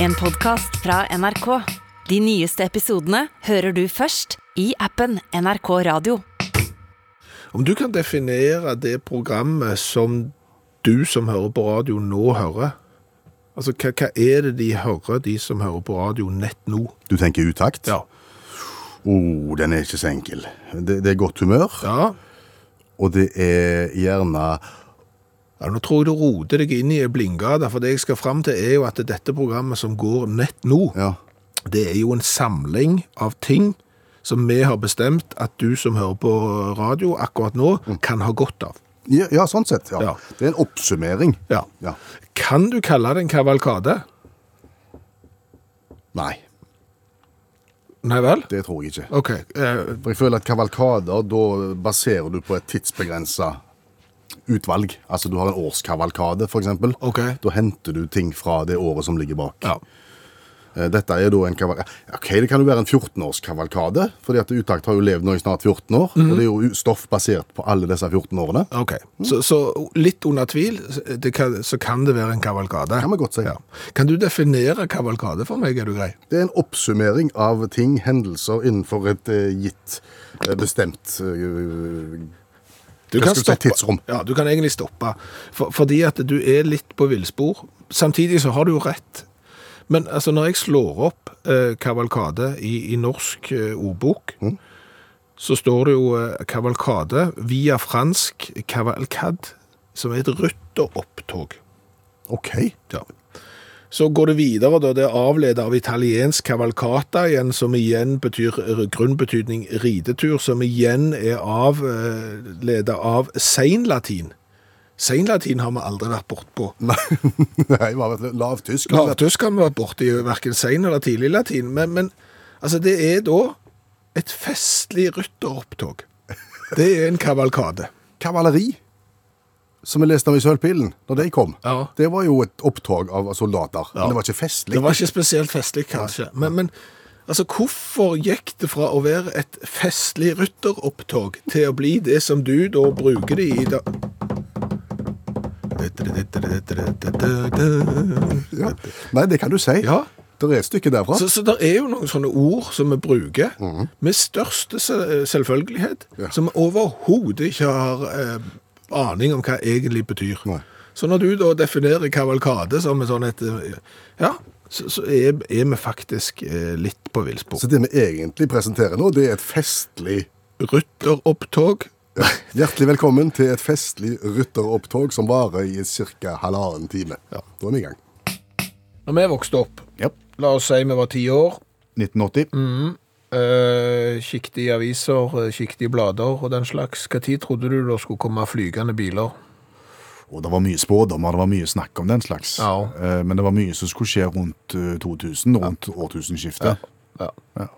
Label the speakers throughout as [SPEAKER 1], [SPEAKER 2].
[SPEAKER 1] En podcast fra NRK. De nyeste episodene hører du først i appen NRK Radio.
[SPEAKER 2] Om du kan definere det programmet som du som hører på radio nå hører, altså hva, hva er det de hører, de som hører på radio nett nå?
[SPEAKER 3] Du tenker utakt?
[SPEAKER 2] Ja.
[SPEAKER 3] Oh, den er ikke så enkel. Det, det er godt humør,
[SPEAKER 2] Ja,
[SPEAKER 3] og det er gjerne
[SPEAKER 2] ja nå tror jeg du roter deg inn i en blindgade, for det jeg skal frem til er jo at dette programmet som går nett nå,
[SPEAKER 3] Ja.
[SPEAKER 2] det er jo en samling av ting som vi har bestemt at du som hører på radio akkurat nå, kan ha godt av.
[SPEAKER 3] Ja, ja sånn sett. Ja.
[SPEAKER 2] Ja.
[SPEAKER 3] Det er en oppsummering.
[SPEAKER 2] Ja.
[SPEAKER 3] Ja.
[SPEAKER 2] Kan du kalle det en kavalkade?
[SPEAKER 3] Nei,
[SPEAKER 2] Nei vel?
[SPEAKER 3] det tror jeg ikke.
[SPEAKER 2] Ok, eh,
[SPEAKER 3] For jeg føler at kavalkader, da baserer du på et tidsbegrensa utvalg. Altså du har en årskavalkade, for eksempel.
[SPEAKER 2] Ok.
[SPEAKER 3] Da henter du ting fra det året som ligger bak.
[SPEAKER 2] ja.
[SPEAKER 3] Eh, Dette er da en kaval... Ok, det kan jo være en 14-årskavalkade, fordi at Utakt har jo levd nå i snart 14 år,
[SPEAKER 2] Mhm.
[SPEAKER 3] og det er jo u- stoff basert på alle disse 14 årene.
[SPEAKER 2] Ok, så, så litt under tvil det kan, så kan det være en kavalkade.
[SPEAKER 3] Kan vi godt si.
[SPEAKER 2] Ja. Kan du definere kavalkade for meg, er du grei?
[SPEAKER 3] Det er en oppsummering av ting, hendelser innenfor et eh, gitt, eh, bestemt eh,
[SPEAKER 2] Du
[SPEAKER 3] Hva
[SPEAKER 2] kan
[SPEAKER 3] skulle du si,
[SPEAKER 2] stoppe-
[SPEAKER 3] tidsrom?
[SPEAKER 2] Ja, du kan egentlig stoppe. For, fordi at du er litt på villspor. Samtidig så har du jo rett. Men altså, når jeg slår opp eh, kavalkade i, i norsk eh, ordbok, så står det jo eh, kavalkade via fransk cavalcade, som er et rytteropptog.
[SPEAKER 3] OK.
[SPEAKER 2] Ja. Så går det videre, da. Det er avledet av italiensk cavalcata igjen, som igjen betyr grunnbetydning ridetur, som igjen er avledet av seinlatin. Seinlatin har vi aldri vært bortpå.
[SPEAKER 3] Nei, nei, hva vet du, lavtysk? eller?
[SPEAKER 2] Lavtysk har vi vært borti verken sein eller tidlig latin, men, men altså, det er da et festlig rytteropptog. Det er en kavalkade.
[SPEAKER 3] Kavaleri, som vi leste om i Sølvpilen, når de kom.
[SPEAKER 2] Ja.
[SPEAKER 3] Det var jo et opptog av soldater,
[SPEAKER 2] Ja.
[SPEAKER 3] men det var ikke festlig.
[SPEAKER 2] Det var ikke spesielt festlig, kanskje. Men, men altså, hvorfor gikk det fra å være et festlig rytteropptog til å bli det som du da bruker det i da
[SPEAKER 3] Ja. Nei, det kan du si.
[SPEAKER 2] Ja.
[SPEAKER 3] Det er et stykke derfra.
[SPEAKER 2] Så, så det er jo noen sånne ord som vi bruker med største se- eh, selvfølgelighet,
[SPEAKER 3] Mhm. Ja.
[SPEAKER 2] som vi overhodet ikke har eh, aning om hva egentlig betyr.
[SPEAKER 3] Nei.
[SPEAKER 2] Så når du da definerer kavalkade som en sånn et eh, Ja, så, så er, er vi faktisk eh, litt på villspor.
[SPEAKER 3] Så det vi egentlig presenterer nå, det er et festlig
[SPEAKER 2] rytteropptog.
[SPEAKER 3] Hjertelig velkommen til et festlig rytteropptog som varer i ca. halvannen time.
[SPEAKER 2] Ja.
[SPEAKER 3] Da er vi i gang.
[SPEAKER 2] Når vi vokste opp,
[SPEAKER 4] Ja.
[SPEAKER 2] la oss si vi var ti år,
[SPEAKER 4] 1980.
[SPEAKER 3] Mm.
[SPEAKER 2] eh, kikket i aviser, eh, kikket i blader og den slags, hva tid trodde du da skulle komme flygende biler?
[SPEAKER 4] Og det var mye spådommer, det var mye snakk om den slags.
[SPEAKER 2] Ja.
[SPEAKER 4] Eh, Men det var mye som skulle skje rundt eh, 2000, rundt årtusenskiftet.
[SPEAKER 2] Ja,
[SPEAKER 4] Ja.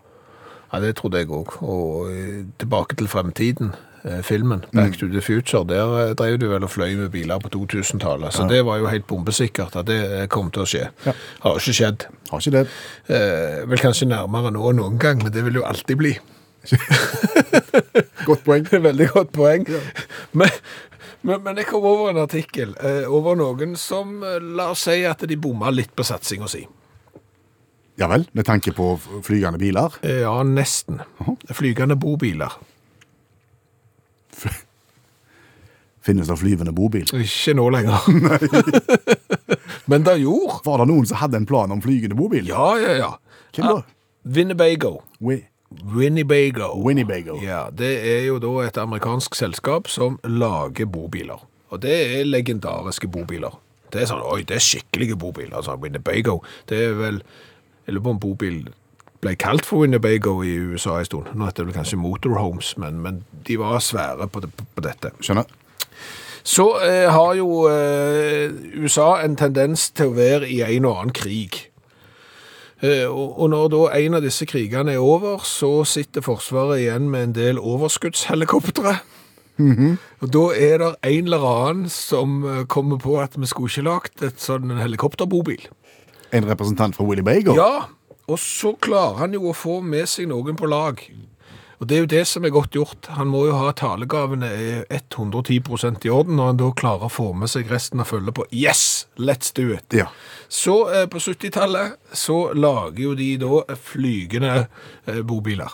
[SPEAKER 2] ja det trodde jeg òg. Og eh, tilbake til fremtiden, eh, filmen, Back to the Future, der eh, drev du vel og fløy med biler på 2000-tallet, så det var jo helt bombesikkert at det eh, kom til å skje.
[SPEAKER 4] Ja.
[SPEAKER 2] Har jo ikke skjedd.
[SPEAKER 4] Har ikke det.
[SPEAKER 2] Eh, vel kanskje nærmere nå enn noen gang, men det vil jo alltid bli.
[SPEAKER 3] Godt poeng.
[SPEAKER 2] Veldig godt poeng. Men, men, men jeg kom over en artikkel eh, over noen som eh, la oss si at de bomma litt på satsinga si.
[SPEAKER 4] Ja vel, med tanke på f- flygende biler.
[SPEAKER 2] Eh, ja, nesten. Flygende bobiler.
[SPEAKER 4] Finnes det flyvende bobil?
[SPEAKER 2] Ikke nå lenger. men det gjorde.
[SPEAKER 4] Var det noen som hadde en plan om flygende bobil?
[SPEAKER 2] Ja, ja, ja.
[SPEAKER 4] Hvem da?
[SPEAKER 2] Winnebago.
[SPEAKER 4] Wi-
[SPEAKER 2] Winnebago.
[SPEAKER 4] Winnebago.
[SPEAKER 2] Ja, Det er jo da et amerikansk selskap som lager bobiler. Og det er legendariske bobiler. Det er sånn, oi, det er skikkelige bobiler. Altså, Winnebago, det er vel Jeg lurer på om bobil ble kalt for Winnebago i USA en stund. Nå heter det vel kanskje Motorhomes, men, men de var svære på, det, på dette.
[SPEAKER 4] Skjønner?
[SPEAKER 2] Så eh, har jo eh, USA en tendens til å være i en og annen krig. Eh, og, og når da en av disse krigene er over, så sitter Forsvaret igjen med en del overskuddshelikoptre. Og da er det en eller annen som eh, kommer på at vi skulle ikke lagt et sånn helikopterbobil.
[SPEAKER 4] En representant fra Willy Bago?
[SPEAKER 2] Ja, og så klarer han jo å få med seg noen på lag. Og det er jo det som er godt gjort. Han må jo ha talegavene eh, 110 i orden, når han da klarer å få med seg resten av følget på 'yes, let's do it'.
[SPEAKER 3] Ja.
[SPEAKER 2] Så eh, på 70-tallet så lager jo de da flygende eh, bobiler.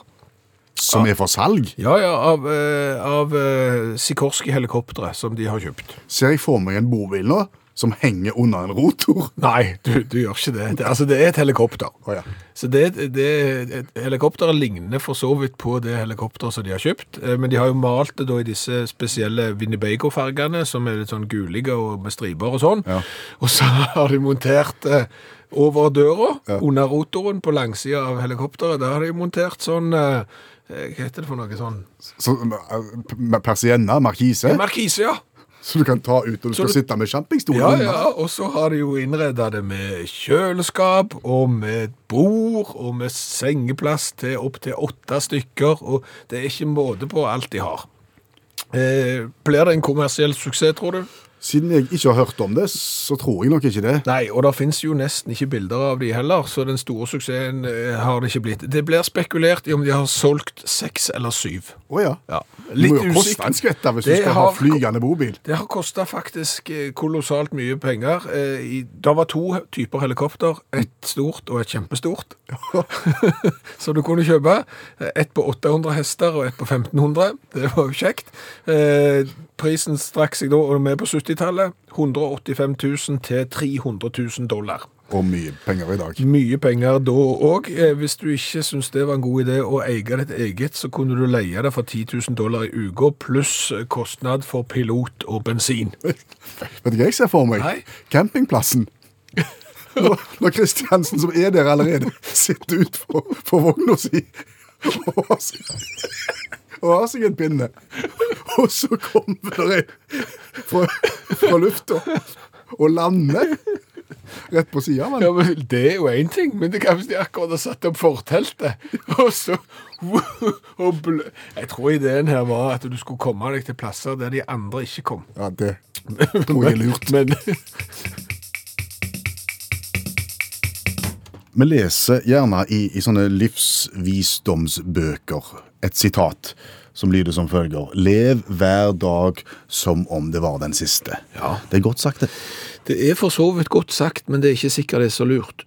[SPEAKER 3] Som er for salg?
[SPEAKER 2] Ja, ja, av, eh, av eh, Sikorsky-helikoptre som de har kjøpt.
[SPEAKER 3] Ser jeg for meg en bobil nå som henger under en rotor.
[SPEAKER 2] Nei, du, du gjør ikke det. det. Altså, det er et helikopter.
[SPEAKER 3] Å, ja.
[SPEAKER 2] Så det, det, et- Helikopteret ligner for så vidt på det helikopteret som de har kjøpt, eh, men de har jo malt det da i disse spesielle Winnebago-fargene, som er litt sånn gulige og med striber og sånn.
[SPEAKER 3] Ja.
[SPEAKER 2] Og så har de montert eh, over døra, under rotoren på langsida av helikopteret, der har de montert sånn eh, eh, Hva heter det for noe sånn?
[SPEAKER 3] Så, eh, p- persienner, markise,
[SPEAKER 2] Markise, ja!
[SPEAKER 3] så du kan ta ut når du skal
[SPEAKER 2] du-
[SPEAKER 3] sitte med campingstol
[SPEAKER 2] Ja,
[SPEAKER 3] under.
[SPEAKER 2] ja, og så har de jo innreda det med kjøleskap og med bord og med sengeplass til opptil åtte stykker, og det er ikke måte på alt de har. Eh, blir det en kommersiell suksess, tror du?
[SPEAKER 3] Siden jeg ikke har hørt om det, så tror jeg nok ikke det.
[SPEAKER 2] Nei, og det finnes jo nesten ikke bilder av de heller, så den store suksessen eh, har det ikke blitt. Det blir spekulert i om de har solgt seks eller syv.
[SPEAKER 3] Å ja.
[SPEAKER 2] Ja,
[SPEAKER 3] Det
[SPEAKER 2] litt
[SPEAKER 3] må jo koste
[SPEAKER 2] usikkert.
[SPEAKER 3] en skvett da, hvis
[SPEAKER 2] Det
[SPEAKER 3] du skal ha
[SPEAKER 2] har-
[SPEAKER 3] flygende bobil.
[SPEAKER 2] Det har kosta faktisk eh, kolossalt mye penger. Eh, i- Det var to typer helikopter, et stort og et kjempestort, som du kunne kjøpe. Eh, Et på 800 hester og et på 1500. Det var jo kjekt. Eh, Prisen strakk seg da, og vi er på 70-tallet, 185 000 til 300 000 dollar.
[SPEAKER 3] Og mye penger i dag.
[SPEAKER 2] Mye penger da òg. Eh, Hvis du ikke syntes det var en god idé å eie ditt eget, så kunne du leie det for 10 000 dollar i uka, pluss eh, kostnad for pilot og bensin.
[SPEAKER 3] Vet du hva jeg ser for meg?
[SPEAKER 2] Nei.
[SPEAKER 3] Campingplassen. Når når Kristiansen, som er der allerede, sitter utfor for vogna si og har seg, og har seg en pinne. Og så kommer det en fra, fra lufta og lander rett på sida av
[SPEAKER 2] Ja,
[SPEAKER 3] den.
[SPEAKER 2] men Det er jo én ting, men det kan hvis de akkurat har satt opp forteltet, og så og blø. Jeg tror ideen her var at du skulle komme deg til plasser der de andre ikke kom.
[SPEAKER 3] Ja, det tror jeg er lurt.
[SPEAKER 2] Men
[SPEAKER 3] Vi leser gjerne i, i sånne livsvisdomsbøker et sitat som lyder som følger Lev hver dag som om det var den siste.
[SPEAKER 2] Ja.
[SPEAKER 3] Det er godt sagt, det.
[SPEAKER 2] Det er for så vidt godt sagt, men det er ikke sikkert det er så lurt.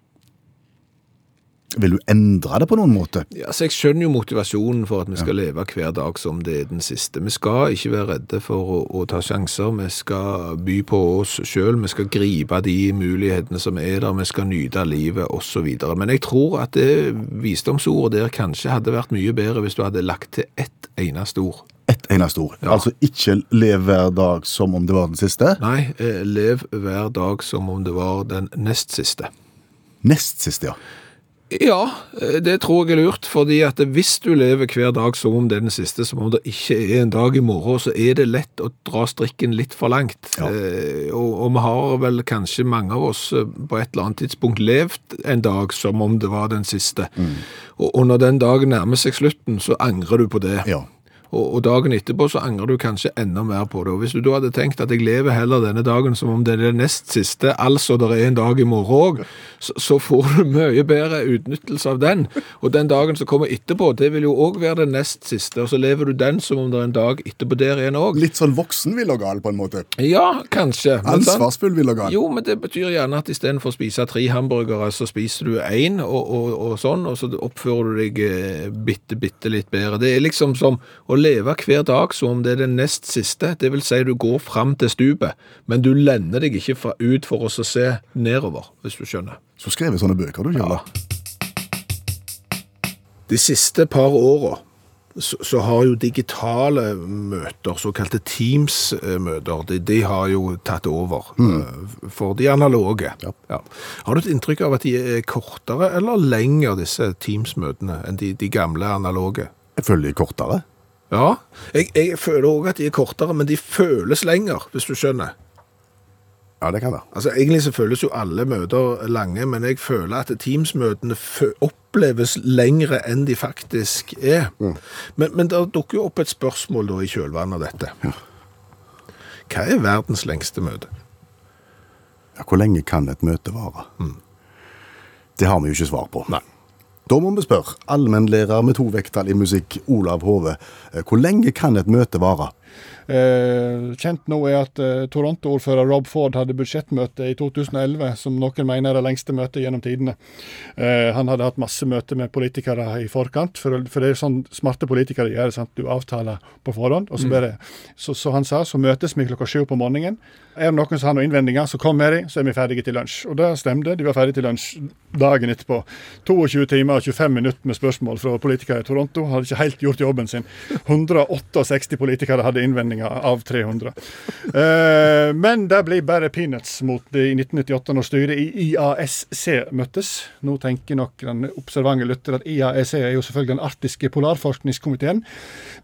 [SPEAKER 3] Vil du endre det på noen måte?
[SPEAKER 2] Ja, så Jeg skjønner jo motivasjonen for at vi skal leve hver dag som det er den siste. Vi skal ikke være redde for å, å ta sjanser. Vi skal by på oss sjøl. Vi skal gripe de mulighetene som er der. Vi skal nyte livet osv. Men jeg tror at det visdomsordet der kanskje hadde vært mye bedre hvis du hadde lagt til ett eneste ord.
[SPEAKER 3] Ett eneste ord. Altså ikke lev hver dag som om det var den siste.
[SPEAKER 2] Nei, eh, lev hver dag som om det var den nest siste.
[SPEAKER 3] Nest siste, ja.
[SPEAKER 2] Ja, eh, det tror jeg er lurt, fordi at hvis du lever hver dag som om det er den siste, som om det ikke er en dag i morgen, så er det lett å dra strikken litt for langt.
[SPEAKER 3] Ja.
[SPEAKER 2] Eh, og, og vi har vel kanskje mange av oss eh, på et eller annet tidspunkt levd en dag som om det var den siste. Og, og når den dagen nærmer seg slutten, så angrer du på det.
[SPEAKER 3] ja.
[SPEAKER 2] Og, og dagen etterpå så angrer du kanskje enda mer på det. Og hvis du da hadde tenkt at jeg lever heller denne dagen som om det er den nest siste, altså det er en dag i morgen òg, så, så får du mye bedre utnyttelse av den. Og den dagen som kommer etterpå, det vil jo òg være den nest siste, og så lever du den som om det er en dag etterpå der igjen òg.
[SPEAKER 3] Litt sånn voksen villegal, på en måte.
[SPEAKER 2] Ja, kanskje. men sant?
[SPEAKER 3] Ansvarsfull villegal.
[SPEAKER 2] Jo, men det betyr gjerne at istedenfor å spise tre hamburgere, så spiser du én, og, og, og sånn, og så oppfører du deg eh, bitte, bitte litt bedre. Det er liksom som å leve hver dag som om det er den nest siste, det vil si du går fram til stupet, men du lender deg ikke fra, ut for å så se nedover, hvis du skjønner.
[SPEAKER 3] Så skrev jeg sånne bøker, du, Kjell.
[SPEAKER 2] De siste par åra så, så har jo digitale møter, såkalte Teams-møter, de, de har jo tatt over eh, for de analoge. Ja. Har du et inntrykk av at de er kortere eller lengre, disse Teams-møtene, enn de, de gamle analoge?
[SPEAKER 3] Jeg følger kortere.
[SPEAKER 2] Ja, jeg, jeg føler òg at de er kortere, men de føles lenger, hvis du skjønner.
[SPEAKER 3] Ja, det kan være.
[SPEAKER 2] Altså, Egentlig så føles jo alle møter lange, men jeg føler at Teams-møtene fø- oppleves lengre enn de faktisk er. Men, men det dukker jo opp et spørsmål da i kjølvannet av dette. Hva er verdens lengste møte?
[SPEAKER 3] Ja, hvor lenge kan et møte vare? Det har vi jo ikke svar på. Da må vi spørre allmennlærer med to vekttall i musikk, Olav Hove. eh, Hvor lenge kan et møte vare?
[SPEAKER 5] Eh, kjent nå er at eh, Toronto-ordfører Rob Ford hadde budsjettmøte i 2011, som noen mener er det lengste møtet gjennom tidene. Eh, han hadde hatt masse møter med politikere i forkant, for, for det er sånn smarte politikere gjør. sant? Du avtaler på forhånd, og så bare så, så han sa så møtes vi klokka sju på morgenen. Er det noen som har noen innvendinger, så kom med dem, så er vi ferdige til lunsj. Og det stemte, de var ferdige til lunsj dagen etterpå. 22 timer og 25 minutter med spørsmål fra politikere i Toronto hadde ikke helt gjort jobben sin. 168 politikere hadde innvendinger av 300. Eh, men det blir bare peanuts mot det i 1998 når styret i IASC møttes. Nå tenker nok den observante lytter at IASC er jo selvfølgelig den arktiske polarforskningskomiteen,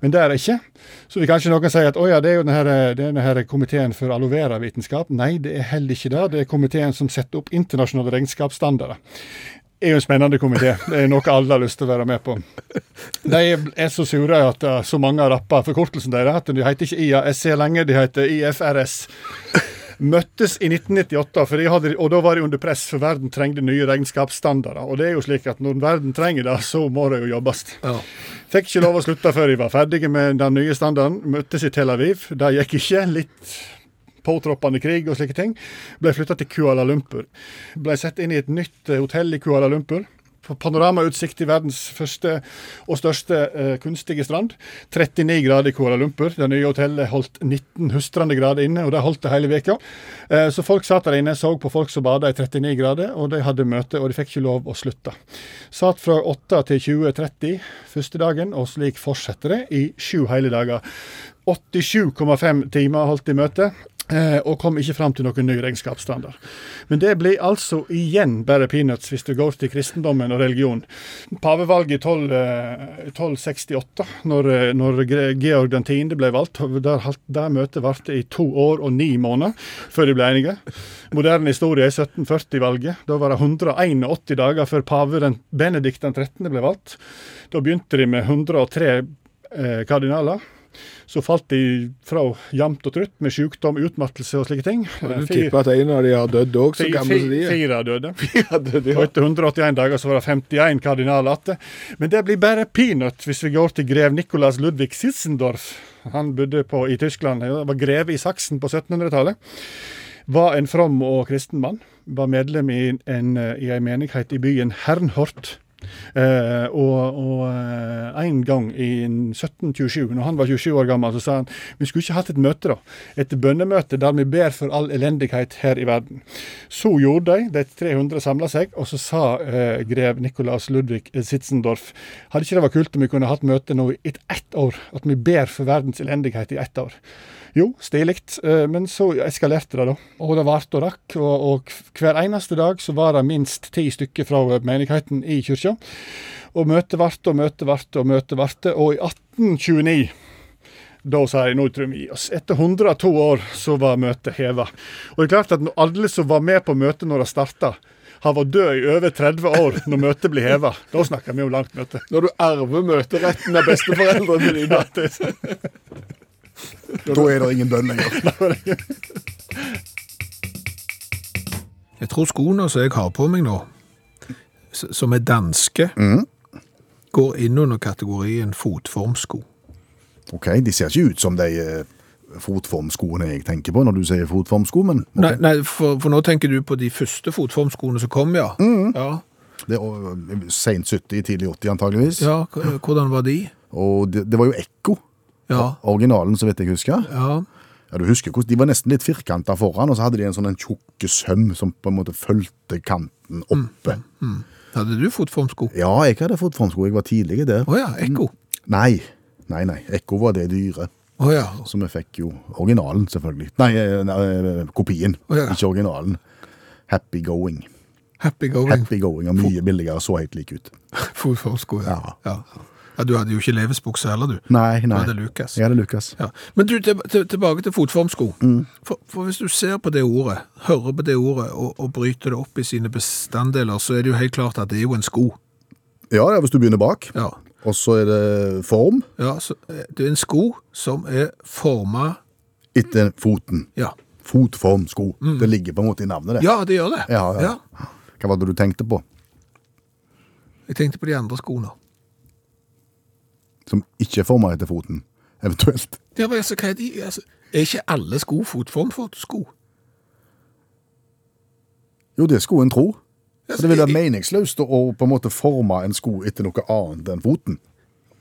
[SPEAKER 5] men det er det ikke. Så vil kanskje noen si at å ja, det er jo denne, her- det er denne her komiteen for aloe vera-vitenskap. Nei, det er heller ikke det. Det er komiteen som setter opp internasjonale regnskapsstandarder er jo en spennende komité. Det er noe alle har lyst til å være med på. De er så sure at uh, så mange har rappa forkortelsen deres at de heter ikke IASC lenger, de heter IFRS. Møttes i 1998, for de hadde, og da var de under press, for verden trengte nye regnskapsstandarder. Og det er jo slik at når verden trenger det, så må det jo jobbes. Fikk ikke lov å slutte før de var ferdige med den nye standarden. Møttes i Tel Aviv. Det gikk ikke. Litt påtroppende krig og slike ting, ble flytta til Kuala Lumpur. Ble satt inn i et nytt eh, hotell i Kuala Lumpur. På Panoramautsikt til verdens første og største eh, kunstige strand. 39 grader i Kuala Lumpur. Det nye hotellet holdt 19 hustrende grader inne, og det holdt det hele veka. Eh, så folk satt der inne, så på folk som bada i 39 grader, og de hadde møte, og de fikk ikke lov å slutte. Satt fra 8 til 20.30 første dagen, og slik fortsetter det i sju hele dager. 87,5 timer holdt i møte, eh, og kom ikke fram til noen ny regnskapsstandard. Men det blir altså igjen bare peanuts hvis du går til kristendommen og religion. Pavevalget i 12, eh, 1268, når, eh, når Gre- Georg 10. ble valgt, der, holdt- der møtet varte i to år og ni måneder før de ble enige. Moderne historie er 1740-valget. Da var det 181 dager før pave den, Benedikt 13. ble valgt. Da begynte de med 103 eh, kardinaler. Så falt de fra jevnt og trutt med sykdom, utmattelse og slike ting. Eh,
[SPEAKER 2] Og Du
[SPEAKER 5] Fire-
[SPEAKER 2] tipper at en av de har dødd òg, så
[SPEAKER 5] Fi-
[SPEAKER 2] gamle som
[SPEAKER 5] fi-
[SPEAKER 2] de er.
[SPEAKER 5] Fire døde.
[SPEAKER 2] Ja, dødd,
[SPEAKER 5] Og
[SPEAKER 2] ja.
[SPEAKER 5] etter 181 dager så var det 51 kardinaler igjen. Men det blir bare peanut hvis vi går til grev Nicolas Ludvig Sitzendorf. Han bodde på, i Tyskland, han var greve i Saksen på 1700-tallet. Var en from og kristen mann. Var medlem i en, i en menighet i byen Hernhort. Eh, og, og eh, en gang i 1727, når han var 27 år gammel, så sa han vi skulle ikke hatt et møte, da. Et bønnemøte der vi ber for all elendighet her i verden. Så gjorde de, de 300 samla seg, og så sa eh, grev Nikolaus Ludvig eh, Sitzendorf hadde ikke det vært kult om vi kunne hatt møte nå i et- ett år, at vi ber for verdens elendighet i ett år. Jo, stilig, eh, men så eskalerte det, da. Og det varte og rakk, og, og hver eneste dag så var det minst ti stykker fra eh, menigheten i kirka. Og møtet varte og møtet varte og møtet varte, og i 1829 da sa jeg nå tror jeg vi gir oss. Etter 102 år så var møtet heva. Og det er klart at når alle som var med på møtet når det starta, har vært død i over 30 år når møtet blir heva. Da snakker vi om langt møte.
[SPEAKER 2] Når du arver møteretten av besteforeldrene dine.
[SPEAKER 5] Ja, det er sant.
[SPEAKER 4] Da er det ingen bønn lenger.
[SPEAKER 2] Jeg tror skoene som jeg har på meg nå, s- som er danske, går inn under kategorien fotformsko.
[SPEAKER 3] Ok, De ser ikke ut som de eh, fotformskoene jeg tenker på når du sier fotformsko, men ok.
[SPEAKER 2] Nei, nei for, for nå tenker du på de første fotformskoene som kom, ja. Ja,
[SPEAKER 3] det er Seint 70, tidlig 80 antageligvis.
[SPEAKER 2] ja k- hvordan var de?
[SPEAKER 3] Og det, det var jo ekko.
[SPEAKER 2] Ja,
[SPEAKER 3] Originalen, så vidt jeg husker.
[SPEAKER 2] ja.
[SPEAKER 3] Ja, du husker hvordan De var nesten litt firkanta foran, og så hadde de en sånn en tjukk søm som på en måte fulgte
[SPEAKER 2] Mm.
[SPEAKER 3] kanten oppe.
[SPEAKER 2] Hadde du fotformsko?
[SPEAKER 3] Ja, jeg hadde fotformsko. Jeg var tidlig der.
[SPEAKER 2] Å ja, ekko.
[SPEAKER 3] Nei, nei, nei. Ekko var det dyre.
[SPEAKER 2] Å ja.
[SPEAKER 3] Så vi fikk jo originalen, selvfølgelig. Nei, eh, nei eh, kopien.
[SPEAKER 2] Å, ja.
[SPEAKER 3] Ikke originalen. Happy Going.
[SPEAKER 2] Happy going.
[SPEAKER 3] Happy Going er mye billigere, så helt lik ut.
[SPEAKER 2] Fotformsko, ja. ja. Ja, Du hadde jo ikke levesbukse heller, du.
[SPEAKER 3] Nei, nei.
[SPEAKER 2] Du hadde Lucas.
[SPEAKER 3] Jeg hadde Lucas.
[SPEAKER 2] Ja. Men du, til, til, tilbake til fotformsko. For, for hvis du ser på det ordet, hører på det ordet og, og bryter det opp i sine bestanddeler, så er det jo helt klart at det er jo en sko.
[SPEAKER 3] Ja, ja, hvis du begynner bak.
[SPEAKER 2] Ja,
[SPEAKER 3] Og så er det form
[SPEAKER 2] ja så, eh, Det er en sko som er forma
[SPEAKER 3] etter foten.
[SPEAKER 2] ja.
[SPEAKER 3] Fotformsko. Det ligger på en måte i navnet, det.
[SPEAKER 2] ja, det gjør det.
[SPEAKER 3] Ja, ja. Hva var det du tenkte på?
[SPEAKER 2] Jeg tenkte på de andre skoene.
[SPEAKER 3] Som ikke er formet etter foten, eventuelt.
[SPEAKER 2] Ja, men altså, hva er de? Altså, er ikke alle sko fotform for sko?
[SPEAKER 3] Jo, det skulle en tro.
[SPEAKER 2] Ja,
[SPEAKER 3] For det ville
[SPEAKER 2] jeg-
[SPEAKER 3] være meningsløst å å på en måte forme en sko etter noe annet enn foten.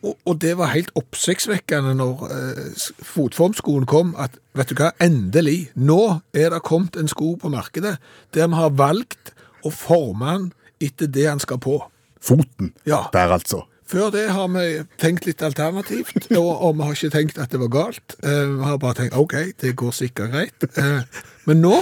[SPEAKER 2] Og, og det var helt oppsiktsvekkende når eh, s- fotformskoen kom, at vet du hva, endelig, nå er det kommet en sko på markedet der vi har valgt å forme den etter det han skal på.
[SPEAKER 3] Foten.
[SPEAKER 2] Ja.
[SPEAKER 3] Der, altså.
[SPEAKER 2] Før det har vi tenkt litt alternativt, og, og vi har ikke tenkt at det var galt. Eh, vi har bare tenkt OK, det går sikkert greit. Eh, men nå,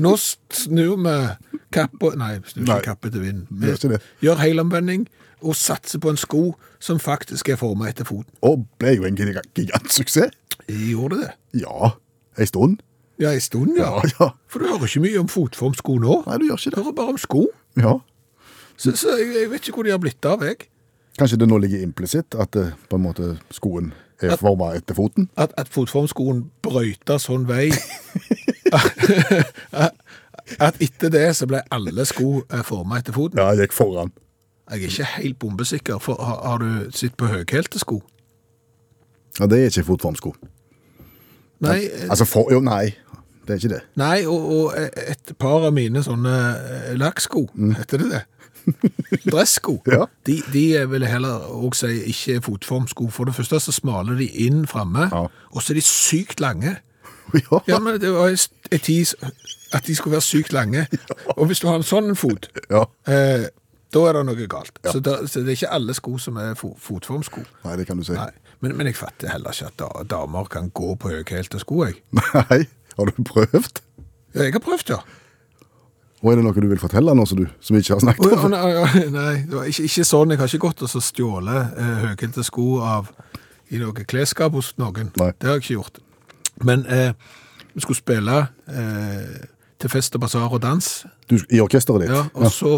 [SPEAKER 2] nå s- snur vi kappa Nei, vi snur
[SPEAKER 3] Nei.
[SPEAKER 2] ikke kappa til vinden.
[SPEAKER 3] Vi gjør ikke det.
[SPEAKER 2] gjør helomvending og satser på en sko som faktisk er forma etter foten.
[SPEAKER 3] Og ble jo en giga- gigantsuksess.
[SPEAKER 2] Gjorde det?
[SPEAKER 3] Ja, ei stund.
[SPEAKER 2] Ja, en stund, ja.
[SPEAKER 3] Ja, ja.
[SPEAKER 2] For du hører ikke mye om fotformsko nå.
[SPEAKER 3] Nei, du gjør ikke
[SPEAKER 2] Du
[SPEAKER 3] det.
[SPEAKER 2] hører bare om sko.
[SPEAKER 3] Ja.
[SPEAKER 2] Så, så jeg, jeg vet ikke hvor de har blitt av, jeg.
[SPEAKER 3] Kanskje det nå ligger implisitt at eh, på en måte skoen er forma etter foten?
[SPEAKER 2] At, at fotformskoen brøyta sånn vei. at etter det så ble alle sko eh, forma etter foten.
[SPEAKER 3] Ja, jeg gikk foran.
[SPEAKER 2] Jeg er ikke helt bombesikker, for har, har du sett på høyhælte sko?
[SPEAKER 3] Ja, Det er ikke fotformsko.
[SPEAKER 2] Nei, eh,
[SPEAKER 3] Altså, for, jo, nei. Det er ikke det.
[SPEAKER 2] nei og, og et par av mine sånne eh, lakksko, heter det det? Dresssko.
[SPEAKER 3] Mm. Ja.
[SPEAKER 2] De, de vil jeg heller òg si ikke er fotformsko. For det første så smaler de inn framme,
[SPEAKER 3] Ja.
[SPEAKER 2] og så er de sykt lange.
[SPEAKER 3] Ja,
[SPEAKER 2] Ja, men det var en tid at de skulle være sykt lange. Og hvis du har en sånn fot,
[SPEAKER 3] Ja.
[SPEAKER 2] eh, da er det noe galt. Så, da, så det er ikke alle sko som er fo fotformsko.
[SPEAKER 3] Nei, det kan du si.
[SPEAKER 2] Nei. Men, men jeg fatter heller ikke at da, damer kan gå på høyhælte sko, jeg.
[SPEAKER 3] Nei. Har du prøvd?
[SPEAKER 2] Ja, jeg har prøvd, ja.
[SPEAKER 3] Og er det noe du vil fortelle nå som, du, som vi ikke har
[SPEAKER 2] Å,
[SPEAKER 3] snakket
[SPEAKER 2] ja,
[SPEAKER 3] om?
[SPEAKER 2] nei, ja, nei, det var ikke, ikke sånn. Jeg har ikke gått og så stjålet eh, høyhælte sko av i noe klesskap hos noen.
[SPEAKER 3] Nei.
[SPEAKER 2] Det har jeg ikke gjort. Men eh, vi skulle spille eh, til fest og basar og dans,
[SPEAKER 3] Du, I orkesteret ditt?
[SPEAKER 2] ja, og så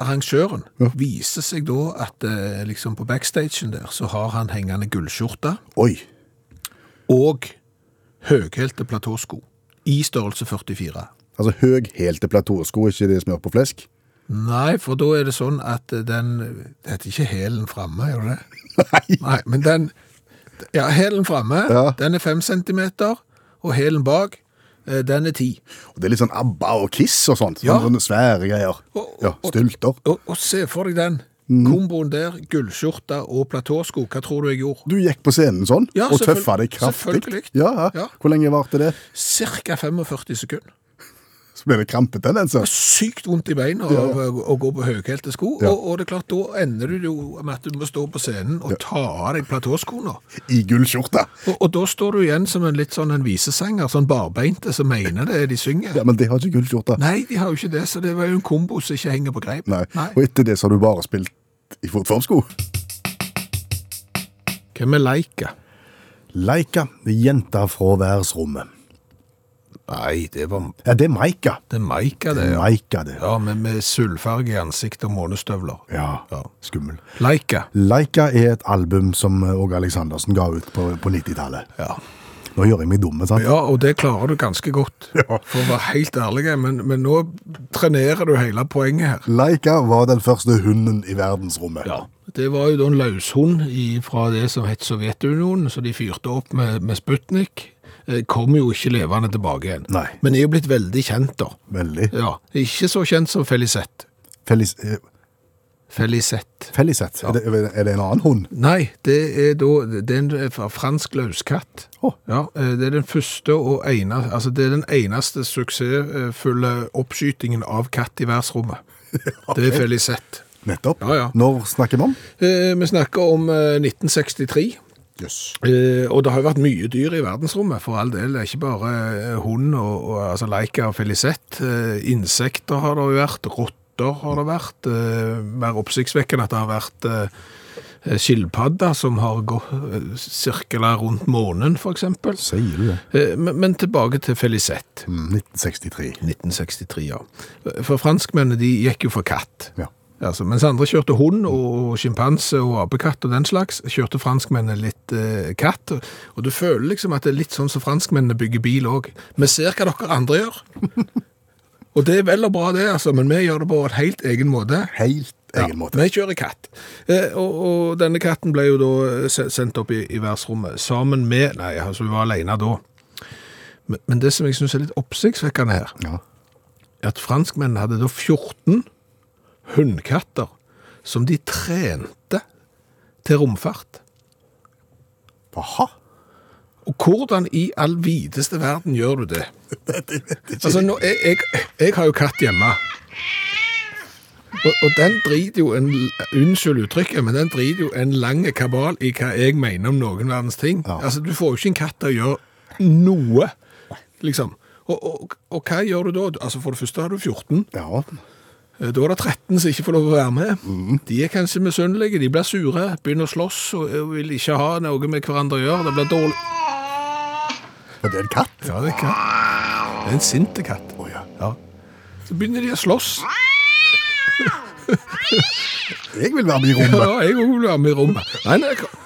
[SPEAKER 2] arrangøren viser seg da at eh, liksom på backstagen der så har han hengende gullskjorte
[SPEAKER 3] Oi.
[SPEAKER 2] og høyhælte platåsko i størrelse 44.
[SPEAKER 3] Altså høy helt til platåsko, ikke det smør på flesk?
[SPEAKER 2] Nei, for da er det sånn at den Det heter ikke hælen framme, gjør det det?
[SPEAKER 3] Nei.
[SPEAKER 2] Nei, men den Ja, hælen framme,
[SPEAKER 3] Ja.
[SPEAKER 2] den er fem centimeter, og hælen bak, eh, den er ti.
[SPEAKER 3] Og det er litt sånn ABBA og Kiss og sånt.
[SPEAKER 2] Ja.
[SPEAKER 3] Sånne svære greier.
[SPEAKER 2] Og-
[SPEAKER 3] Ja,
[SPEAKER 2] og-
[SPEAKER 3] Stylter.
[SPEAKER 2] Og, og se for deg den.
[SPEAKER 3] Mhm.
[SPEAKER 2] Komboen der, gullskjorte og platåsko. Hva tror du jeg gjorde?
[SPEAKER 3] Du gikk på scenen sånn,
[SPEAKER 2] Ja,
[SPEAKER 3] og
[SPEAKER 2] selvfølgelig-
[SPEAKER 3] tøffa deg kraftig.
[SPEAKER 2] selvfølgelig.
[SPEAKER 3] Ja, ja.
[SPEAKER 2] Ja.
[SPEAKER 3] Hvor lenge varte det?
[SPEAKER 2] Cirka 45 sekunder.
[SPEAKER 3] Så ble det krampetendenser.
[SPEAKER 2] Sykt vondt i beina av eh, å- å gå på høyhælte sko.
[SPEAKER 3] Ja.
[SPEAKER 2] Og, og det er klart, da ender du jo med at du må stå på scenen og ta av deg platåskoene.
[SPEAKER 3] I gullskjorte.
[SPEAKER 2] Og, og da står du igjen som en litt sånn en visesanger, sånn barbeinte som mener det de synger.
[SPEAKER 3] Ja, men det har ikke gullskjorte.
[SPEAKER 2] Nei, de har jo ikke det, så det var jo en kombo som ikke henger på greip.
[SPEAKER 3] Nei. Og etter det så har du bare spilt i fotformsko.
[SPEAKER 2] Hvem er Leika?
[SPEAKER 3] Leika, jenta fra verdensrommet.
[SPEAKER 2] Nei, det var
[SPEAKER 3] Ja, det er Maika.
[SPEAKER 2] det er Maika, det. Ja,
[SPEAKER 3] Leika, det.
[SPEAKER 2] ja men med sølvfarge i ansikt og månestøvler.
[SPEAKER 3] Ja, skummel.
[SPEAKER 2] Leika.
[SPEAKER 3] Leika er et album som eh, Åge Aleksandersen ga ut på, på 90-tallet.
[SPEAKER 2] Ja.
[SPEAKER 3] Nå gjør jeg meg dumme, sant?
[SPEAKER 2] ja, og det klarer du ganske godt. For å være helt ærlig, men, men nå trenerer du hele poenget her.
[SPEAKER 3] Leika var den første hunden i verdensrommet.
[SPEAKER 2] Ja. Det var jo da en løshund i- fra det som het Sovjetunionen, så de fyrte opp med, med Sputnik. Eh, Kom jo ikke levende tilbake igjen.
[SPEAKER 3] Nei.
[SPEAKER 2] Men er jo blitt veldig kjent, da.
[SPEAKER 3] Veldig.
[SPEAKER 2] Ja, Ikke så kjent som Felicette.
[SPEAKER 3] Felis, eh,
[SPEAKER 2] Felicette.
[SPEAKER 3] Felisette, er, det, er det en annen hund?
[SPEAKER 2] Nei, det er da det er en eh, fra- fransk løskatt.
[SPEAKER 3] Å.
[SPEAKER 2] Ja, eh, det er den første og ene, altså det er den eneste suksessfulle oppskytingen av katt i verdensrommet. Det er Felicette.
[SPEAKER 3] Nettopp.
[SPEAKER 2] Ja, ja.
[SPEAKER 3] Når snakker vi om?
[SPEAKER 2] Eh, Vi snakker om eh, 1963.
[SPEAKER 3] Jøss.
[SPEAKER 2] Eh, og det har jo vært mye dyr i verdensrommet, for all del. Det er ikke bare eh, hund og, og altså leika og felisett. Eh, insekter har det jo vært, rotter har det vært. Eh, mer oppsiktsvekkende at det har vært eh, skilpadder som har gå, eh, sirkla rundt månen, f.eks.
[SPEAKER 3] Sier du det?
[SPEAKER 2] Eh, men, men tilbake til felisett.
[SPEAKER 3] Mm, 1963.
[SPEAKER 2] 1963, ja. For franskmennene de gikk jo for katt.
[SPEAKER 3] Ja.
[SPEAKER 2] Altså, mens andre kjørte hund og sjimpanse og apekatt og den slags, kjørte franskmennene litt eh, katt. Og du føler liksom at det er litt sånn som franskmennene bygger bil òg. Vi ser hva dere andre gjør. og det er vel og bra, det, altså, men vi gjør det på en helt egen måte.
[SPEAKER 3] Helt egen måte.
[SPEAKER 2] Vi kjører katt. Eh, og, og denne katten ble jo da eh, se- sendt opp i, i verdensrommet sammen med Nei, altså hun var alene da. Men, men det som jeg syns er litt oppsiktsvekkende her,
[SPEAKER 3] Ja.
[SPEAKER 2] er at franskmennene hadde da 14 hundkatter som de trente til romfart.
[SPEAKER 3] Aha.
[SPEAKER 2] Og hvordan i all videste verden gjør du det? Altså, nå, jeg, jeg, jeg har jo katt hjemme. Og, og den driter jo en Unnskyld uttrykket, men den driter jo en lang kabal i hva jeg mener om noen verdens ting.
[SPEAKER 3] Ja.
[SPEAKER 2] Altså, Du får jo ikke en katt til å gjøre noe, liksom. Og, og, og hva gjør du da? Altså, For det første har du 14.
[SPEAKER 3] Ja.
[SPEAKER 2] Eh, Da er det 13 som ikke får lov å være med. De er kanskje misunnelige, de blir sure, begynner å slåss og og vil ikke ha noe med hverandre å gjøre. Det blir dårlig.
[SPEAKER 3] Og det er en katt?
[SPEAKER 2] Ja, det er en katt. Det er en sinte katt.
[SPEAKER 3] Å ja.
[SPEAKER 2] Så begynner de å slåss.
[SPEAKER 3] Jeg vil være med i
[SPEAKER 2] Ja,
[SPEAKER 3] rommet.
[SPEAKER 2] jeg òg vil være med i rommet. Nei, nei, kom.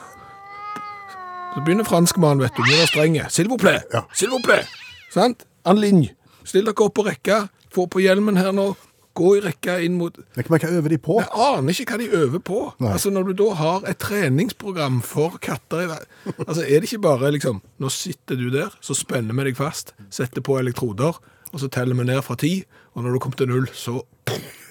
[SPEAKER 2] Så begynner franskmannen, vet du, med det strenge. S'il vous plaît!
[SPEAKER 3] Ja.
[SPEAKER 2] S'il vous plaît! Sant? En linje. Still dere opp på rekka. Få på hjelmen her nå. Gå i rekka inn mot
[SPEAKER 3] Men kan man ikke øve de på?
[SPEAKER 2] Jeg aner ikke hva de øver på.
[SPEAKER 3] Nei.
[SPEAKER 2] Altså Når du da har et treningsprogram for katter i ver- Altså Er det ikke bare liksom Nå sitter du der, så spenner vi deg fast, setter på elektroder, og så teller vi ned fra ti, og når du kommer til null, så